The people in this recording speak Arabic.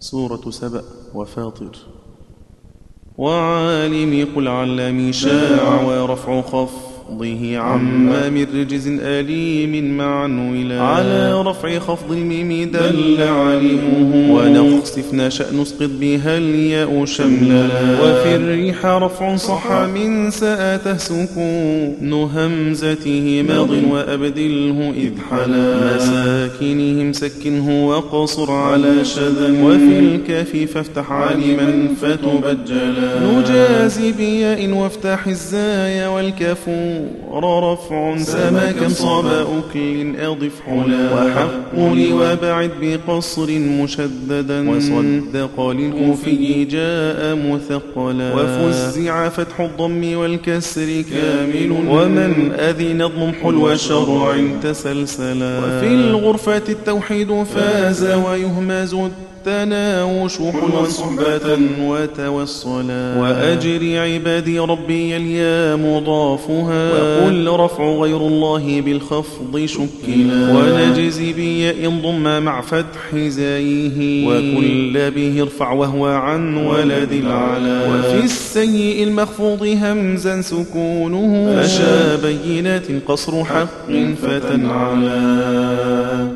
سورة سبأ وفاطر وعالم قل علم شاع ورفع خفضه عما من رجز أليم معا ولا على رفع خفض الميم دل علمه ونخسف نشأ نسقط بها الياء شملا وفي الريح رفع صح من سأته سكون همزته ماض وأبدله إذ حلا مساكنهم سكنه وقصر على شذا وفي الكاف فافتح عالما فتبجلا نجازي بياء وافتح الزايا والكفور رفع سمكا صاب أكل أضف حلا وحق لي وبعد بقصر مشددا وصدق للكوفي جاء مثقلا وفزع فتح الضم والكسر كامل ومن أذن نظم حلو شرع تسلسلا وفي الغرفة التوحيد فاز ويهمز التناوش حلوا صحبة وتوصلا وأجر عبادي ربي اليا مضافها وقل رفع غير الله بالخفض شكلا ونجزي بياء ضم مع فتح زايه وكل به ارفع وهو عن ولد العلا وفي السيء المخفوض همزا سكونه فشا بينات قصر حق فتنعلا